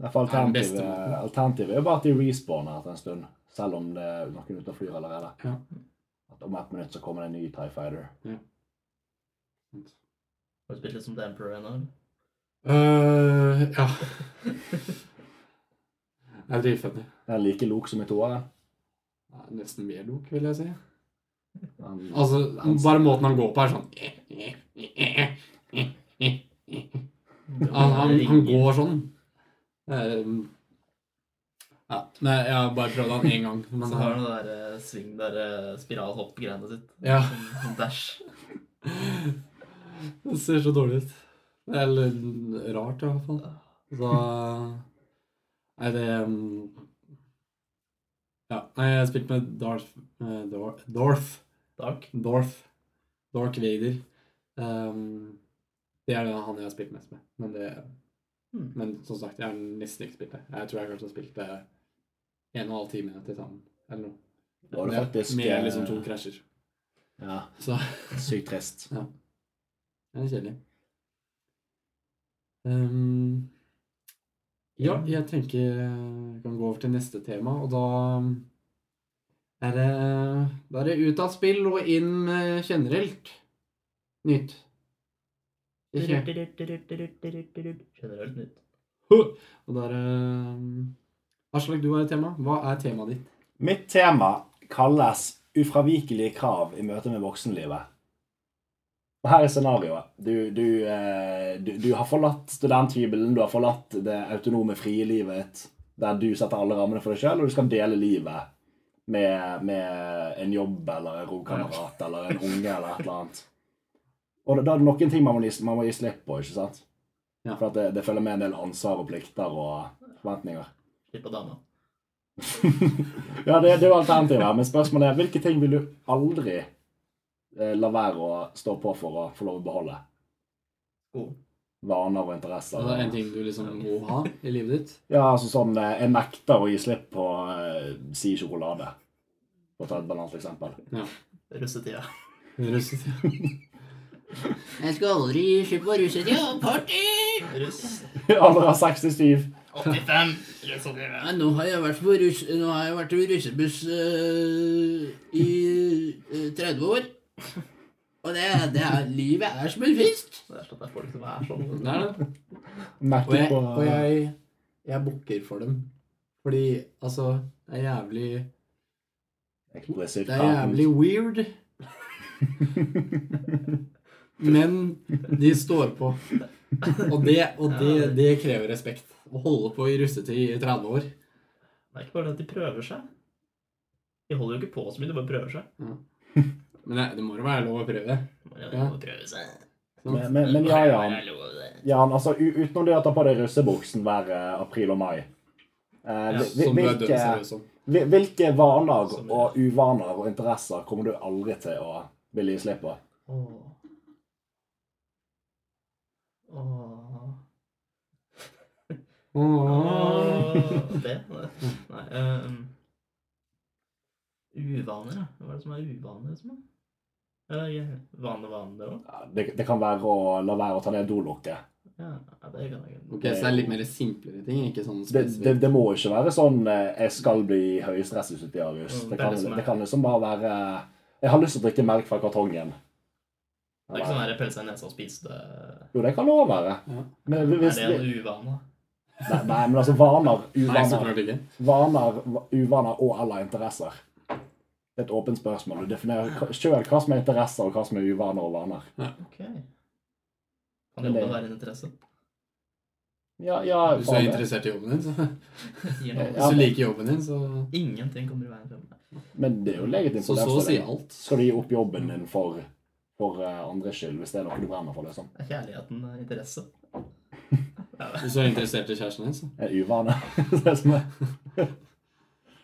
Speaker 2: Nei, for
Speaker 1: Det er den beste
Speaker 2: alternativet,
Speaker 1: måten.
Speaker 2: alternativet er jo bare at de respawner etter en stund. Selv om det er noen ute og flyr allerede.
Speaker 1: Ja.
Speaker 2: At om ett minutt så kommer det en ny Tie Fighter.
Speaker 3: Har du spilt litt som The Emperor ennå? eller?
Speaker 1: Eh, Ja. [LAUGHS] Det er dritfunny.
Speaker 2: Det er like lok som i toeren.
Speaker 1: Det er Nesten mer lok, vil jeg si.
Speaker 2: Men-
Speaker 1: Altså, Bare måten han går på, er sånn Han, han, han går sånn. Eh, Ja. Nei, jeg har bare prøvd han én gang. Men,
Speaker 3: Så har han det der eh, sving, der eh, spiralhopp-greiene sitt.
Speaker 1: ja.
Speaker 3: Sånn- sånn Dash.
Speaker 1: Det ser så dårlig ut. Eller rart, i hvert fall. Så Nei, det um, Ja. Nei, jeg har spilt med Darth eh, Dor- Dorth.
Speaker 3: Dark.
Speaker 1: Dorth. Dark Vader. Um, det er det han jeg har spilt mest med. Men, det,
Speaker 3: Hmm.
Speaker 1: men som sagt, jeg har nesten ikke spilt det. Jeg tror jeg kanskje har spilt det en og en halv time til sammen. Eller noe.
Speaker 2: Det var det
Speaker 1: Med-
Speaker 2: faktisk,
Speaker 1: Med
Speaker 2: eh,
Speaker 1: liksom to krasjer.
Speaker 2: Ja,
Speaker 1: Så
Speaker 2: sykt trist.
Speaker 1: Det er kjedelig. Ehm, Ja, jeg tenker eh, vi kan gå over til neste tema, og da er det, da er det ut av spill og inn med generelt nytt. Ikke?
Speaker 3: Generelt nytt.
Speaker 1: Og da er det ehm, Aslak, du har et tema. Hva er temaet ditt?
Speaker 2: Mitt tema kalles 'Ufravikelige krav i møte med voksenlivet'. Og her er scenarioet. Du, du, eh, du, du har forlatt studenthybelen, du har forlatt det autonome, frie livet ditt, der du setter alle rammene for deg sjøl, og du skal dele livet med, med en jobb eller en romkamerat eller en unge eller et eller annet. Og da da er det noen ting man må, gi- man må gi slipp på, ikke sant?
Speaker 1: Ja.
Speaker 2: For at det, det følger med en del ansvar og plikter og forventninger.
Speaker 3: Slipp av dama.
Speaker 2: ja, det, det er jo alternativet. her, Men spørsmålet er hvilke ting vil du aldri eh, la være å stå på for å få lov å beholde?
Speaker 3: Skolen.
Speaker 2: Vaner og
Speaker 1: Er det
Speaker 2: interesser.
Speaker 1: en ting du liksom må ha i livet ditt? [LAUGHS]
Speaker 2: Ja, altså sånn eh, Jeg nekter å gi slipp på eh, si sjokolade. For å ta et banalt eksempel. [LAUGHS]
Speaker 3: Russetida.
Speaker 1: Russetida.
Speaker 4: Jeg skal aldri gi slipp på russetida. Party!
Speaker 3: Russ.
Speaker 2: Alder av 67.
Speaker 3: 85. Russetida.
Speaker 4: Ja, nå har jeg vært på russ, nå har jeg vært på russebuss
Speaker 1: eh,
Speaker 4: øh, i øh, 30 år. Og det, det er, livet er som en fisk.
Speaker 3: Det er sånn at det er folk som er sånn.
Speaker 1: Det er det. Og
Speaker 2: Nekter
Speaker 1: jeg,
Speaker 2: på
Speaker 1: og jeg, jeg bukker for dem. Fordi altså Det er jævlig
Speaker 2: eksplisitt
Speaker 1: Det er jævlig weird, men de står på. Og det, og det, det krever respekt. Å holde på i russetid i 30 år.
Speaker 3: Det er ikke bare det at de prøver seg. De holder jo ikke på så mye, de bare prøver seg.
Speaker 1: Men det, det må jo være lov å prøve. Sånn.
Speaker 3: Bare,
Speaker 1: Ja.
Speaker 3: ja. de prøver seg.
Speaker 2: [LAUGHS] Men, men, Eh, men ja, Jan.
Speaker 3: Jeg lover det.
Speaker 2: Jan altså, u- utenom det å ta på deg russebuksen hver eh, april og mai eh,
Speaker 3: Ja,
Speaker 2: hvil-
Speaker 1: Som du er død
Speaker 2: hvilke-
Speaker 1: seriøs om.
Speaker 2: Hvil- Hvilke vaner
Speaker 3: Som er-
Speaker 2: og uvaner og interesser kommer du aldri til å ville gi slipp på?
Speaker 3: Åh. Åh.
Speaker 1: Åh.
Speaker 3: Åh. Det? Nei. ehm. uvaner, da. Hva er det som er uvaner? Liksom? Eller ja, vane, vane, det òg?
Speaker 2: Ja, Det, det kan være å la være å ta ned dolokket.
Speaker 3: Ja, ja, det kan jeg
Speaker 1: Ok, så det er litt mer simplere ting, ikke sånn
Speaker 2: Det, det,
Speaker 1: spesifikt.
Speaker 2: det må ikke være sånn eh, 'jeg skal bli høystresset ut i august'.
Speaker 3: Mm,
Speaker 2: Det
Speaker 3: det er
Speaker 2: kan,
Speaker 3: det som er.
Speaker 2: det kan liksom bare være 'jeg har lyst til å drikke melk fra kartongen'.
Speaker 3: Det er ikke sånn her pelle seg i nesa og spise det
Speaker 2: Jo, det kan det òg være.
Speaker 1: Ja.
Speaker 2: Men,
Speaker 3: Er
Speaker 2: hvis,
Speaker 3: det en uvane?
Speaker 2: nei, nei, men altså vaner,
Speaker 1: Nei, så
Speaker 2: uvaner,
Speaker 1: klart ikke.
Speaker 2: vaner, va- uvaner og eller interesser. Det er et åpent spørsmål. Du definerer sjøl hva som er interesser, og hva som er uvaner og vaner.
Speaker 3: Ok. Kan jobben være en
Speaker 1: [LAUGHS]
Speaker 3: interesse?
Speaker 2: Ja, ja,
Speaker 1: Hvis du
Speaker 2: faen
Speaker 1: er
Speaker 2: det.
Speaker 1: interessert i jobben din, så
Speaker 3: Sier
Speaker 2: Ja,
Speaker 3: noe.
Speaker 1: Hvis du liker jobben din, så
Speaker 3: Ingenting kommer i veien for meg.
Speaker 2: Men det er jo legitimt.
Speaker 1: Så så å si
Speaker 2: problemstilling.
Speaker 1: alt.
Speaker 2: Skal du gi opp jobben din for, for eh, andres skyld, hvis det er noe du brenner for? liksom?
Speaker 3: Er kjærligheten eh, interesse?
Speaker 1: Hvis du er interessert i kjæresten din, så
Speaker 2: En uvane. [LAUGHS] det som er.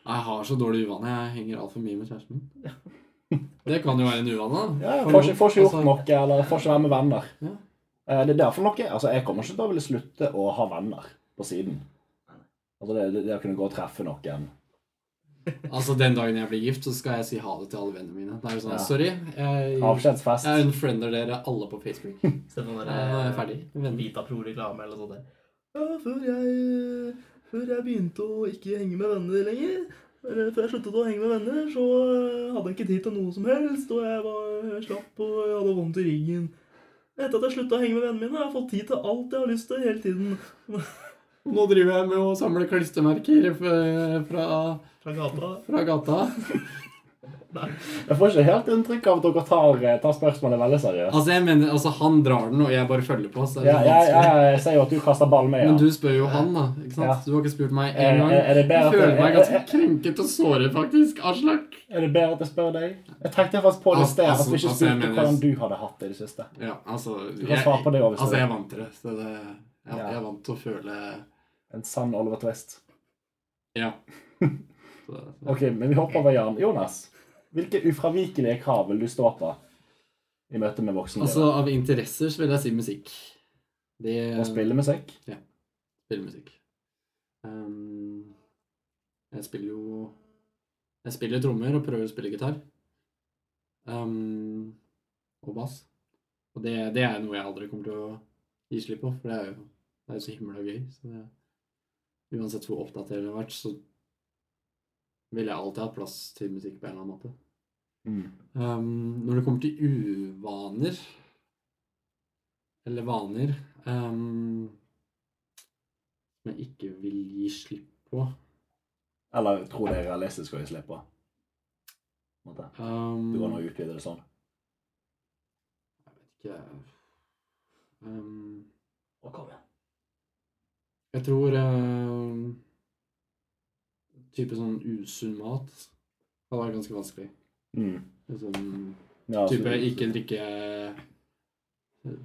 Speaker 1: Jeg har så dårlig uvane. Jeg henger altfor mye med kjæresten
Speaker 2: [LAUGHS]
Speaker 1: min. Det kan jo være en uvane. da.
Speaker 2: Ja,
Speaker 1: For
Speaker 2: får ikke, får ikke gjort
Speaker 1: altså,
Speaker 2: noe, eller får ikke være med venner.
Speaker 1: Ja.
Speaker 2: Eh, Det er derfor noe, altså Jeg kommer ikke til å ville slutte å ha venner på siden. Altså Det, det, det å kunne gå og treffe noen.
Speaker 1: Altså, Den dagen jeg blir gift, så skal jeg si ha det til alle vennene mine. Da er det sånn,
Speaker 2: Ja.
Speaker 1: sorry, jeg,
Speaker 2: Avskjedsfest.
Speaker 1: jeg unfriender dere alle på
Speaker 2: [LAUGHS]
Speaker 1: Facebook. Jeg
Speaker 3: Se på den
Speaker 1: er
Speaker 3: der
Speaker 1: ferdig. Venner.
Speaker 3: Vitapro-reklame eller sånt der. Ja, før jeg, før jeg begynte å ikke henge med venner lenger, eller før jeg sluttet å henge med venner, så eh, hadde jeg ikke tid til noe som helst, og jeg var slapp og jeg hadde vondt i ryggen. Etter at jeg slutta å henge med vennene mine, har jeg fått tid til alt jeg har lyst til hele tiden.
Speaker 1: Nå driver jeg med å samle klistremerker f- fra,
Speaker 3: Fra gata.
Speaker 1: fra gata.
Speaker 2: Jeg får ikke helt inntrykk av at dere tar, eh, tar spørsmålet veldig seriøst.
Speaker 1: Altså, jeg mener, altså, Han drar den, og jeg bare følger på. så er det
Speaker 2: Ja, jeg,
Speaker 1: vanskelig.
Speaker 2: jeg, jeg ser jo at du kaster ball med. ja.
Speaker 1: Men du spør jo han, da. ikke sant?
Speaker 2: Ja.
Speaker 1: Du har ikke spurt meg
Speaker 2: Er-
Speaker 1: én gang.
Speaker 2: er- er det bedre
Speaker 1: Jeg
Speaker 2: at-
Speaker 1: føler meg ganske
Speaker 2: er-
Speaker 1: krenket og såret, faktisk. Aslak.
Speaker 2: Er det bedre at jeg spør deg? Jeg tenkte faktisk på det i
Speaker 1: Altså,
Speaker 2: sted, at
Speaker 1: altså,
Speaker 2: vi ikke
Speaker 1: altså, jeg
Speaker 2: spurte
Speaker 1: mener-
Speaker 2: hvordan du hadde hatt det i det siste.
Speaker 1: Ja, altså
Speaker 2: Du kan svare på det også, hvis
Speaker 1: Altså,
Speaker 2: du
Speaker 1: jeg er
Speaker 2: vil.
Speaker 1: vant til det. Så det jeg,
Speaker 2: Ja.
Speaker 1: jeg er vant til å føle
Speaker 2: En sann Oliver Twist. [LAUGHS]
Speaker 1: Ja. Så, så.
Speaker 2: Ok, men vi hopper over Jan. Jonas, hvilke ufravikelige krav vil du stå på i møte med voksne?
Speaker 1: Altså, av interesser så vil jeg si musikk. Det
Speaker 2: Å spille musikk?
Speaker 1: spille musikk. Ehm, jeg spiller jo Jeg spiller trommer og prøver å spille gitar. Ehm, og bass. Og det, det er noe jeg aldri kommer til å gi slipp på, for det er jo, det er jo så himla gøy. Så det, Uansett hvor oppdatert jeg har vært, så ville jeg alltid hatt plass til musikk på en eller annen måte.
Speaker 2: Mm.
Speaker 1: Um, når det kommer til uvaner Eller vaner um, Som jeg ikke vil gi slipp på
Speaker 2: Eller tror det er realistisk å gi slipp på. På en måte.
Speaker 1: um,
Speaker 2: Du går nå og utvider det sånn.
Speaker 1: Jeg vet ikke um,
Speaker 3: Å, kom igjen.
Speaker 1: Jeg tror eh, Type sånn usunn mat kan være ganske vanskelig.
Speaker 2: Mm.
Speaker 1: Liksom,
Speaker 2: Ja, altså, så-
Speaker 1: type ikke drikke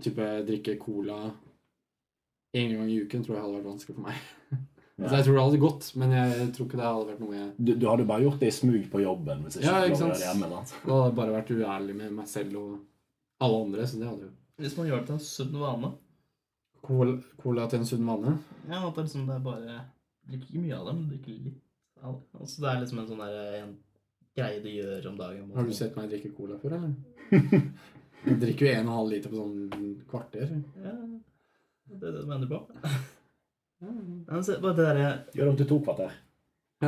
Speaker 1: Type drikke cola én gang i uken tror jeg hadde vært vanskelig for meg. [LAUGHS]
Speaker 2: Ja.
Speaker 1: Altså, jeg tror det hadde gått, men jeg tror ikke det hadde vært noe jeg
Speaker 2: du, du hadde bare gjort det i smug på jobben. Hvis ikke
Speaker 1: Ja,
Speaker 2: du
Speaker 1: ikke
Speaker 2: hadde
Speaker 1: sant?
Speaker 2: det hjemme, sant?
Speaker 1: Da hadde jeg bare vært uærlig med meg selv og alle andre, så det hadde jo
Speaker 3: Hvis man gjør det til en sunn vane
Speaker 1: Cola, cola til en sunn vane.
Speaker 3: Ja, at det er liksom det er bare Drikker ikke mye av det, men drikker litt av det. Altså, det er liksom en sånn der, eh, en greie du gjør om dagen.
Speaker 1: Har du sett meg drikke cola før,
Speaker 3: [LAUGHS]
Speaker 1: eller? Jeg drikker jo en og en halv liter på sånn kvarter.
Speaker 3: Ja, det er det du mener på.
Speaker 1: Ja,
Speaker 3: Ja, men se, bare det der,
Speaker 2: Gjør det om til to kvarter.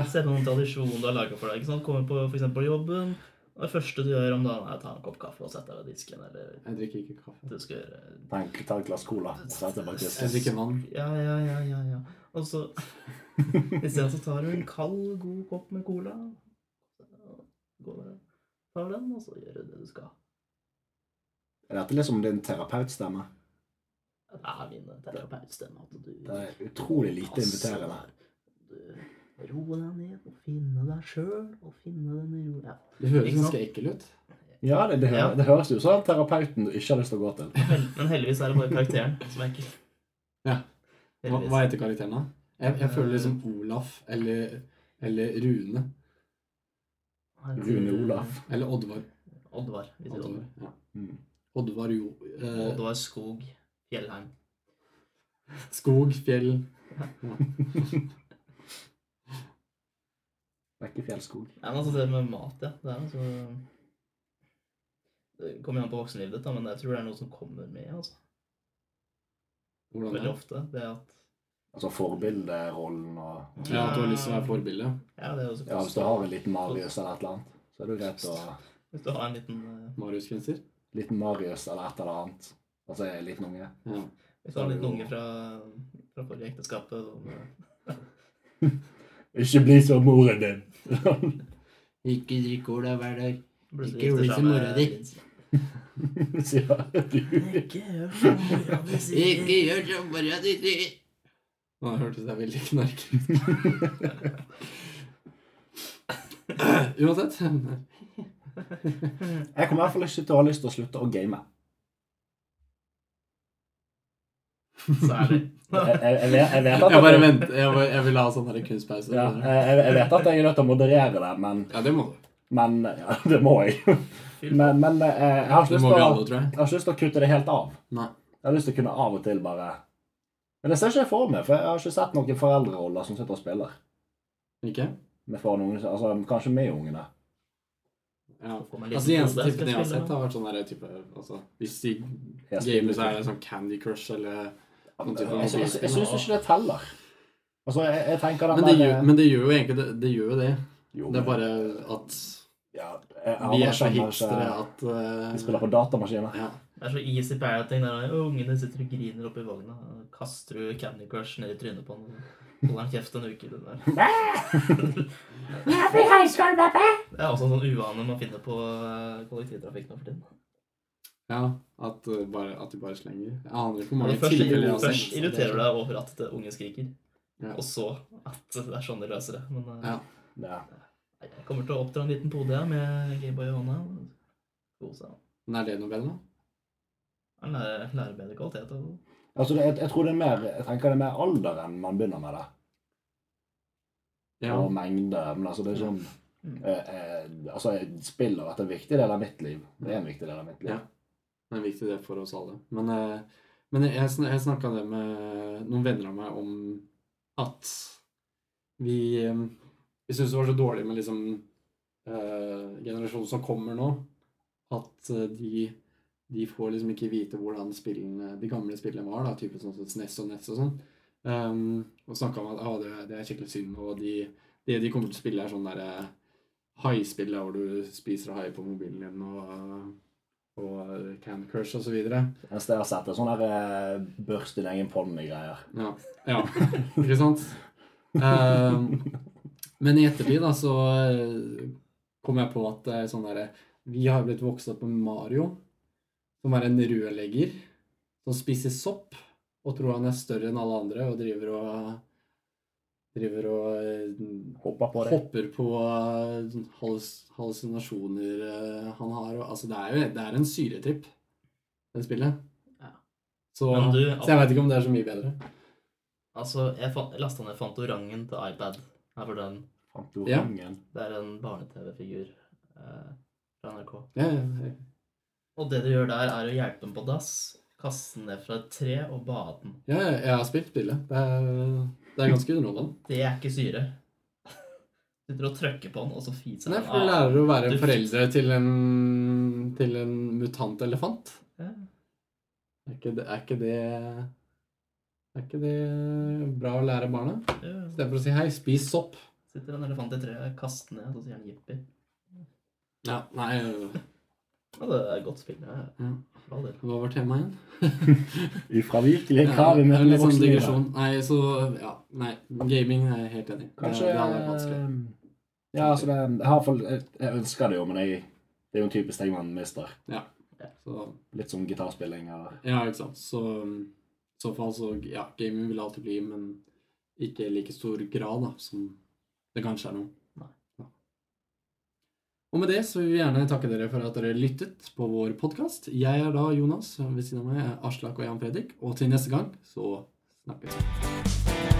Speaker 3: Se på noen tradisjon du har laga for deg. ikke sant? Kommer på for eksempel jobben, og det første du gjør om dagen, er å ta en kopp kaffe og sette deg ved disken. Eller
Speaker 1: Jeg drikker ikke kaffe.
Speaker 3: du skal gjøre
Speaker 2: Ta, en, ta et glass cola og sette deg bak disken.
Speaker 1: Jeg drikker vann.
Speaker 3: Ja, ja, ja, ja. ja. Og så isteden så tar du en kald, god kopp med cola. og Går, tar den, og så gjør du det du skal.
Speaker 2: Er dette liksom din terapeutstemme?
Speaker 3: Det er min terapeutstemme at du
Speaker 2: Det er utrolig lite inviterende.
Speaker 3: Du roer deg ned og finner deg sjøl og finner den roen.
Speaker 1: [LAUGHS]
Speaker 3: Ja.
Speaker 1: Det høres
Speaker 3: Ikke sant?
Speaker 1: ganske ekkelt ut.
Speaker 2: Ja, det, det, hø-
Speaker 3: Ja.
Speaker 2: det høres jo sånn terapeuten du ikke har lyst til å gå til.
Speaker 3: Hel- Men heldigvis er det bare karakteren som er ekkel.
Speaker 1: Ja. Hva,
Speaker 3: Heldigvis.
Speaker 1: hva heter karakteren, da? Jeg, jeg føler liksom Olaf eller, eller Rune.
Speaker 3: Han heter-
Speaker 2: Rune Olaf.
Speaker 1: Eller Oddvar.
Speaker 3: Oddvar. vi sier
Speaker 1: Oddvar,
Speaker 3: Oddvar.
Speaker 1: ja.
Speaker 2: Mm.
Speaker 1: Oddvar jo eh,
Speaker 3: Oddvar Skog Fjellheim.
Speaker 1: Skog, fjell
Speaker 2: Bekkefjellskog.
Speaker 3: Ja, men altså det med mat, ja. Det er altså Det kommer jo an på voksenlivet ditt, da, men jeg tror det er noe som kommer med. altså.
Speaker 1: Hvordan
Speaker 3: Veldig
Speaker 1: det er.
Speaker 3: ofte. Det at
Speaker 2: Altså forbilderollen og
Speaker 1: Ja, at du har lyst til å være forbilde.
Speaker 3: Ja, det er også
Speaker 2: Ja, hvis du har en liten Marius eller et eller annet, så er det jo greit å
Speaker 3: Hvis du har en liten eh,
Speaker 1: Marius-genser.
Speaker 2: Liten Marius eller et eller annet. Altså en liten
Speaker 1: Ja.
Speaker 2: unge.
Speaker 3: Hvis du har en liten unge fra, fra forrige ekteskapet som eh,
Speaker 2: Ikke bli som moren din! [LAUGHS]
Speaker 4: Ikke drikk cola hver dag.
Speaker 3: plutselig
Speaker 4: Ikke bli
Speaker 3: gifter seg
Speaker 4: som
Speaker 3: med
Speaker 4: mora di.
Speaker 3: prins.
Speaker 2: Sier du.
Speaker 3: Ikke gjør som mora di
Speaker 4: Ikke gjør som mora di sier.
Speaker 1: Nå hørtes det veldig knark ut. [LAUGHS] Uansett.
Speaker 2: Jeg kommer i hvert fall ikke til å ha lyst til å slutte å game.
Speaker 3: Særlig.
Speaker 2: Jeg, jeg, jeg, vet- jeg vet at
Speaker 1: Jeg bare venter. Jeg, bare- jeg vil ha sånn her kunstpause.
Speaker 2: Ja, jeg, jeg- jeg vet at jeg er nødt til å moderere det, men,
Speaker 1: Ja, det må du.
Speaker 2: men [LAUGHS] ja, Det må jeg. Men, men eh, jeg, har ikke
Speaker 1: Det
Speaker 2: lyst
Speaker 1: må
Speaker 2: til
Speaker 1: vi
Speaker 2: å,
Speaker 1: alle, tror jeg.
Speaker 2: jeg har ikke lyst til å kutte det helt av.
Speaker 1: Nei.
Speaker 2: Jeg har lyst til å kunne av og til bare Men det ser ikke jeg for meg, for jeg har ikke sett noen foreldreroller som sitter og spiller.
Speaker 1: Ikke?
Speaker 2: Med faren og ungene, altså Kanskje med ungene.
Speaker 1: Ja.
Speaker 3: Få meg en liten
Speaker 1: Altså, de eneste
Speaker 3: kode,
Speaker 1: tippene jeg har
Speaker 3: skal
Speaker 1: sett, har vært sånn der type altså, Hvis de
Speaker 2: Jeg
Speaker 1: gamer,
Speaker 2: spiller
Speaker 1: så er det sånn Candy Crush eller
Speaker 2: Jeg, jeg, jeg, jeg syns ikke det teller. Altså, jeg, jeg tenker den
Speaker 1: Men det
Speaker 2: der-
Speaker 1: gjør, men det gjør jo egentlig det. Det gjør jo det.
Speaker 2: Jo,
Speaker 1: Det
Speaker 2: men-
Speaker 1: er bare at
Speaker 2: ja,
Speaker 1: vi er
Speaker 2: jeg
Speaker 1: så
Speaker 2: anerkjenner ikke-
Speaker 1: hipstere at
Speaker 2: Vi
Speaker 1: eh,
Speaker 2: spiller på datamaskiner.
Speaker 1: ja.
Speaker 3: Det er så easy parenting. Der, og ungene sitter og griner oppi vogna. og Kaster du Candy Crush ned i trynet på den, og holder han kjeft en uke. i Den der. [LAUGHS] Det er også en sånn uvane man finner på eh, kollektivtrafikk nå for tiden.
Speaker 1: ja at, eh, bare, at de bare slenger. Jeg aner ikke hvor
Speaker 3: Men
Speaker 1: mange
Speaker 3: Først,
Speaker 1: tilfeller jeg har
Speaker 3: først
Speaker 1: sett.
Speaker 3: irriterer du deg over at unge skriker,
Speaker 1: Ja.
Speaker 3: og så at det er sånn de løser det. Men eh,
Speaker 1: Ja.
Speaker 2: Ja.
Speaker 3: nei, jeg kommer til å oppdra en liten pode jeg, med Gameboy i hånda. Kose meg.
Speaker 1: Men er det noe bedre nå?
Speaker 3: Han lærer, lærer bedre kvalitet. Og
Speaker 2: Altså, det, jeg, jeg tror det er mer Jeg tenker det er mer alderen man begynner med det.
Speaker 1: Ja.
Speaker 2: Og mengde. Men altså, det er sånn
Speaker 3: Mm.
Speaker 2: eh, eh, Altså, jeg spiller har vært en viktig del av mitt liv. Det er en viktig del av mitt liv.
Speaker 1: Ja. Det er en viktig del for oss alle. Men, eh, men jeg, sn- jeg snakka det med noen venner av meg om at vi eh, Vi syns det var så dårlig med liksom eh, generasjonen som kommer nå, at eh, de de får liksom ikke vite hvordan spillene, de gamle spillene var, da, type sånn som SNES E og NES og sånn. Um, og snakka om at ah, det, det er skikkelig synd, og de, det de kommer til å spille, er sånn derre haispill der hvor du spiser hai på mobilen din, og, og Can eh, Crush og så videre.
Speaker 2: Mens det jeg har sett, er sånne der, eh, børst din egen pollen-greier.
Speaker 1: Ja. ja. [LAUGHS] Ikke sant? Ehm, men i ettertid da, så eh, kom jeg på at det er sånn derre Vi har blitt vokst opp med Mario, som er en rødlegger som spiser sopp og tror han er større enn alle andre og driver og Driver og eh,
Speaker 2: [LAUGHS] Hopper på det.
Speaker 1: hopper på eh, hallus- hallusinasjoner eh, han har. og- Altså, det er jo det er en syretripp, det spillet.
Speaker 3: Ja.
Speaker 1: Så,
Speaker 3: Men du,
Speaker 1: så jeg veit ikke om det er så mye bedre.
Speaker 3: Altså, jeg fant- lasta ned Fantorangen til iPad. Her var den.
Speaker 2: Fantorangen.
Speaker 3: Det er en barne-TV-figur eh, fra NRK.
Speaker 1: Ja, ja, ja.
Speaker 3: Og det du gjør der, er å hjelpe den på dass, kaste den ned fra et tre og bade den.
Speaker 1: Ja, ja, jeg har spilt spillet. Det er, det er ganske underholdende.
Speaker 3: Det er ikke syre. [LAUGHS] Sitter og trykker på den, og så fiser
Speaker 1: Nei,
Speaker 3: den
Speaker 1: for du lærer å være
Speaker 3: Du-
Speaker 1: foreldre til en, til en mutant elefant.
Speaker 3: Ja.
Speaker 1: Er ikke, det, er ikke det Er ikke det bra å lære barna?
Speaker 3: Ja,
Speaker 1: Istedenfor å si 'hei, spis sopp'.
Speaker 3: Sitter en elefant i treet, kaster den ned, og så sier den jippi.
Speaker 1: Ja, nei
Speaker 3: Ja, det er et godt spill. Ja.
Speaker 1: Ja.
Speaker 3: Bra del.
Speaker 1: Hva var temaet igjen?
Speaker 2: Ufravikelige krav i
Speaker 1: Ja,
Speaker 2: møte
Speaker 1: litt
Speaker 2: med
Speaker 1: sånn
Speaker 2: voksenlivet.
Speaker 1: digresjon. Nei, så Ja. Nei, gaming er jeg helt enig. i.
Speaker 2: Kanskje
Speaker 1: det,
Speaker 2: eh,
Speaker 1: det hadde vært vanskelig.
Speaker 2: Ja, altså, det, jeg, har, i hvert fall- jeg, jeg ønsker det jo, men jeg, det er jo en typisk ting man mister.
Speaker 1: Så,
Speaker 2: Litt som gitarspilling eller
Speaker 1: ja, ikke sant. Så um, i så fall så Ja, gaming vil alltid bli, men ikke i like stor grad da, som det kanskje er nå.
Speaker 3: Nei.
Speaker 1: Ja. Og med det så vil vi gjerne takke dere for at dere lyttet på vår podkast. Jeg er da Jonas, ved siden av meg er Aslak og Jan Fredrik, og til neste gang så snakkes vi.